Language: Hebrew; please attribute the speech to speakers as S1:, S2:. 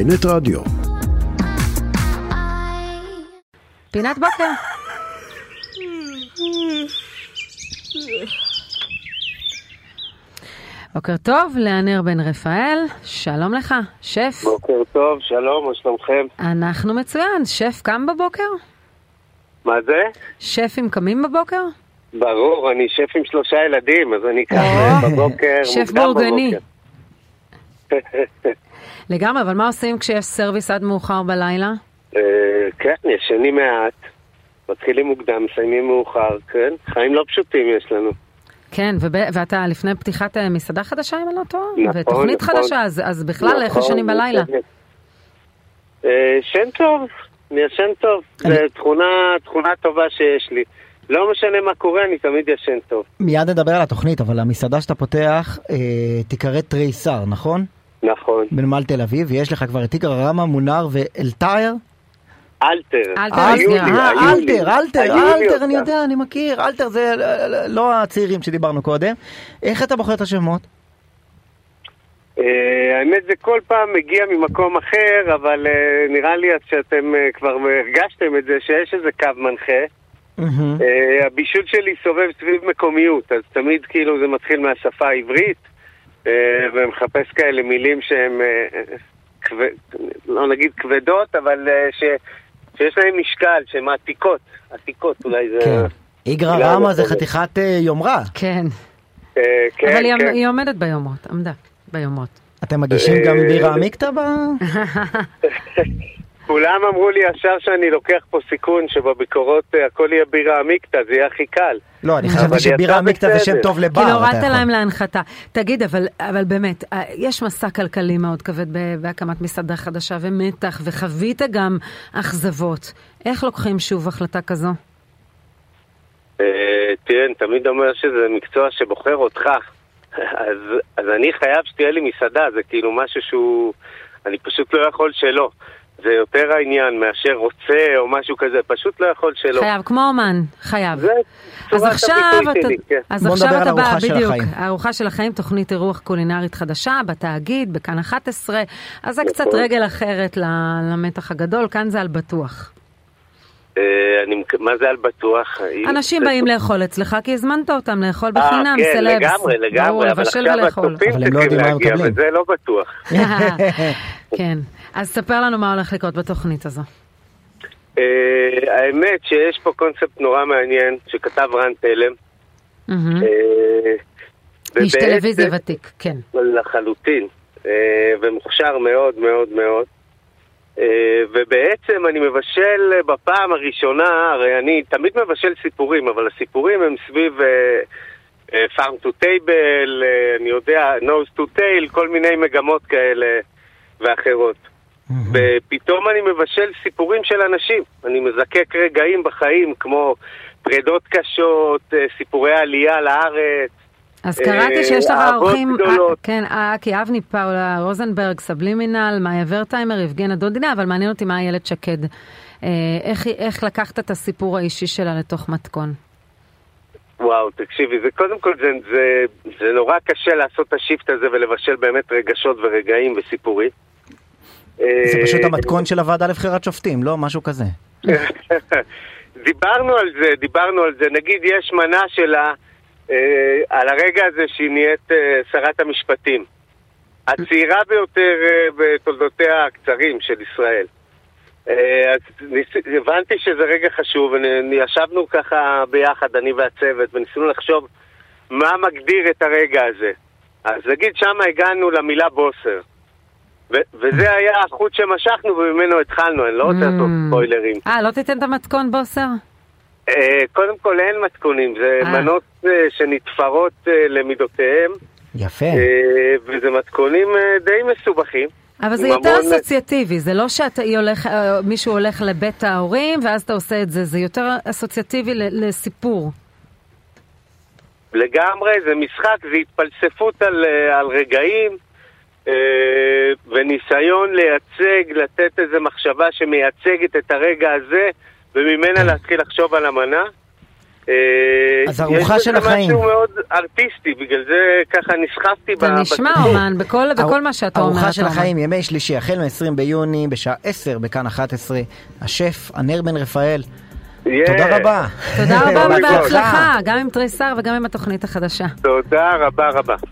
S1: ynet רדיו.
S2: פינת בוקר. בוקר טוב לענר בן רפאל, שלום לך, שף.
S3: בוקר טוב, שלום, מה שלומכם?
S2: אנחנו מצוין, שף קם בבוקר?
S3: מה זה?
S2: שפים קמים בבוקר?
S3: ברור, אני שף עם שלושה ילדים, אז אני
S2: אה,
S3: כן, קם בבוקר,
S2: שף
S3: מוקדם
S2: בורגני.
S3: בבוקר.
S2: לגמרי, אבל מה עושים כשיש סרוויס עד מאוחר בלילה?
S3: אה, כן, ישנים מעט, מתחילים מוקדם, מסיימים מאוחר, כן? חיים לא פשוטים יש לנו.
S2: כן, וב, ואתה לפני פתיחת אה, מסעדה חדשה, אם אני לא טועה?
S3: נכון,
S2: ותוכנית
S3: נכון.
S2: חדשה, אז, אז בכלל, איך
S3: נכון,
S2: ישנים בלילה?
S3: אה, ישן טוב, אני ישן טוב, זו תכונה, תכונה טובה שיש לי. לא משנה מה קורה, אני תמיד ישן טוב.
S4: מיד נדבר על התוכנית, אבל המסעדה שאתה פותח אה, תיקרא תריסר, נכון?
S3: נכון.
S4: בנמל תל אביב, ויש לך כבר את תיגר רמה, מונר ואלתייר?
S3: אלתר.
S2: אלתר,
S3: היו
S2: אז
S3: לי,
S2: נראה.
S3: היו
S4: אה,
S3: לי.
S4: אלתר, אלתר,
S3: היו לי
S4: אלתר,
S3: אותם.
S4: אני יודע, אני מכיר, אלתר זה אה, אה, לא הצעירים שדיברנו קודם. איך אתה בוחר את השמות?
S3: אה, האמת זה כל פעם מגיע ממקום אחר, אבל אה, נראה לי עד שאתם אה, כבר הרגשתם את זה שיש איזה קו מנחה.
S4: מהמם.
S3: אה, הבישול שלי סובב סביב מקומיות, אז תמיד כאילו זה מתחיל מהשפה העברית, אה, ומחפש כאלה מילים שהן, אה, כבד- לא נגיד כבדות, אבל אה, ש... שיש להן משקל, שהן עתיקות, עתיקות אולי זה...
S4: כן. איגרא
S3: לא, לא,
S4: רמה זה
S3: לא.
S4: חתיכת אה, יומרה.
S2: כן,
S3: אה, כן,
S2: אבל היא,
S3: כן.
S2: היא עומדת ביומות, עמדה ביומות.
S4: אתם מגישים גם
S3: אה,
S4: בירה עמיקתא ב...
S3: כולם אמרו לי ישר שאני לוקח פה סיכון, שבביקורות אה, הכל יהיה בירה עמיקתא, זה יהיה הכי קל.
S4: לא, אני
S3: אבל
S4: חשבתי
S3: יצא
S4: שבירה עמיקתא זה שם
S3: בסדר.
S4: טוב לבר.
S2: כאילו
S4: אתה
S2: הורדת
S4: יכול.
S2: להם להנחתה. תגיד, אבל, אבל באמת, אה, יש מסע כלכלי מאוד כבד ב- בהקמת מסעדה חדשה ומתח, וחווית גם אכזבות. איך לוקחים שוב החלטה כזו?
S3: אה, תראה, אני תמיד אומר שזה מקצוע שבוחר אותך. אז, אז אני חייב שתהיה לי מסעדה, זה כאילו משהו שהוא... אני פשוט לא יכול שלא. זה יותר העניין מאשר רוצה או משהו כזה, פשוט לא יכול שלא.
S2: חייב, כמו אומן, חייב.
S3: זה
S2: אז
S3: צורת
S2: עכשיו
S3: הביטוי
S2: אתה,
S3: שלי, כן.
S2: אז
S4: בוא
S2: עכשיו
S4: נדבר על
S2: אתה בא,
S4: ארוחה של
S2: בדיוק,
S4: החיים.
S2: ארוחה של החיים, תוכנית אירוח קולינרית חדשה, בתאגיד, בכאן 11, אז זה קצת
S3: נכון.
S2: רגל אחרת ל- למתח הגדול, כאן זה על בטוח.
S3: אה, אני, מק- מה זה על בטוח?
S2: אנשים
S3: זה-
S2: באים לאכול אצלך, כי הזמנת אותם לאכול בחינם,
S3: אה, כן,
S2: סלבס.
S3: לגמרי,
S2: ברור,
S3: לגמרי, אבל
S2: לבשל
S3: עכשיו
S2: ולאכול.
S3: הצופים
S4: אבל הם לא
S3: צריכים
S4: יודעים מה הם
S3: להגיע,
S4: מקבלים.
S3: וזה לא בטוח.
S2: כן, אז ספר לנו מה הולך לקרות בתוכנית הזו.
S3: אה, האמת שיש פה קונספט נורא מעניין שכתב רן תלם.
S2: מהמם.
S3: אה,
S2: איש
S3: ובעצם-
S2: טלוויזיה ותיק, כן.
S3: לחלוטין, אה, ומוכשר מאוד מאוד מאוד. אה, ובעצם אני מבשל אה, בפעם הראשונה, הרי אני תמיד מבשל סיפורים, אבל הסיפורים הם סביב אה, פארם טו טייבל, אה, אני יודע, nose to tail, כל מיני מגמות כאלה ואחרות. ופתאום אני מבשל סיפורים של אנשים. אני מזקק רגעים בחיים כמו פרדות קשות, אה, סיפורי עלייה לארץ.
S2: אז
S3: אה,
S2: קראתי שיש לך
S3: אהבות
S2: אורחים,
S3: גדולות.
S2: אה, כן, אה, כי אבני פאולה רוזנברג, סבלימינל, מאיה ורטהיימר, יבגנה דודינה, אבל מעניין אותי מה איילת שקד. אה, איך היא- איך לקחת את הסיפור האישי שלה לתוך מתכון?
S3: וואו, תקשיבי, זה קודם כל זה, זה, זה נורא קשה לעשות את השיפט הזה ולבשל באמת רגשות ורגעים וסיפורים.
S4: זה פשוט המתכון של הוועדה לבחירת שופטים, לא משהו כזה.
S3: דיברנו על זה, דיברנו על זה. נגיד יש מנה שלה אה, על הרגע הזה שהיא נהיית אה, שרת המשפטים. הצעירה ביותר אה, בתולדותיה הקצרים של ישראל. אה, אז ניס- הבנתי שזה רגע חשוב, ונ- ישבנו ככה ביחד, אני והצוות, וניסינו לחשוב מה מגדיר את הרגע הזה. אז נגיד שם הגענו למילה בוסר. ו- וזה היה החוט שמשכנו וממנו התחלנו, אני לא רוצה לעשות
S2: Mm.
S3: ספוילרים.
S2: אה, לא תיתן את המתכון, בוסר?
S3: אה, קודם כל אין מתכונים, זה
S2: אה.
S3: מנות אה, שנתפרות אה, למידותיהם,
S4: יפה.
S2: כן.
S3: אה, וזה מתכונים אה, די מסובכים.
S2: אבל זה
S3: עם
S2: יותר
S3: המון-
S2: אסוציאטיבי, זה לא שאתה היא הולך, אה, מישהו הולך לבית ההורים ואז אתה עושה את זה, זה יותר אסוציאטיבי ל- לסיפור.
S3: אה, לגמרי, זה משחק, זה התפלספות על, אה, על רגעים, אה, וניסיון לייצג, לתת איזו
S2: כן.
S3: מחשבה שמייצגת את הרגע הזה, וממנה להתחיל לחשוב על המנה. אה, אה,
S4: אז ארוחה של
S3: יש
S4: החיים.
S3: בזה משהו מאוד ארטיסטי, בגלל זה ככה נסחפתי.
S2: אתה
S3: ב-
S2: נשמע
S3: בסיפור.
S2: אומן בכל, בכל מה שאתה אומר.
S4: ארוחה
S2: אתה
S4: של
S2: אומן.
S4: החיים, ימי שלישי, החל מ-20 ביוני, בשעה 10 בכאן 11, השף ענר בן רפאל.
S3: Yeah.
S4: תודה רבה.
S2: תודה רבה
S3: תודה.
S2: ובהצלחה, גם עם תריסר וגם עם התוכנית החדשה.
S3: תודה רבה רבה.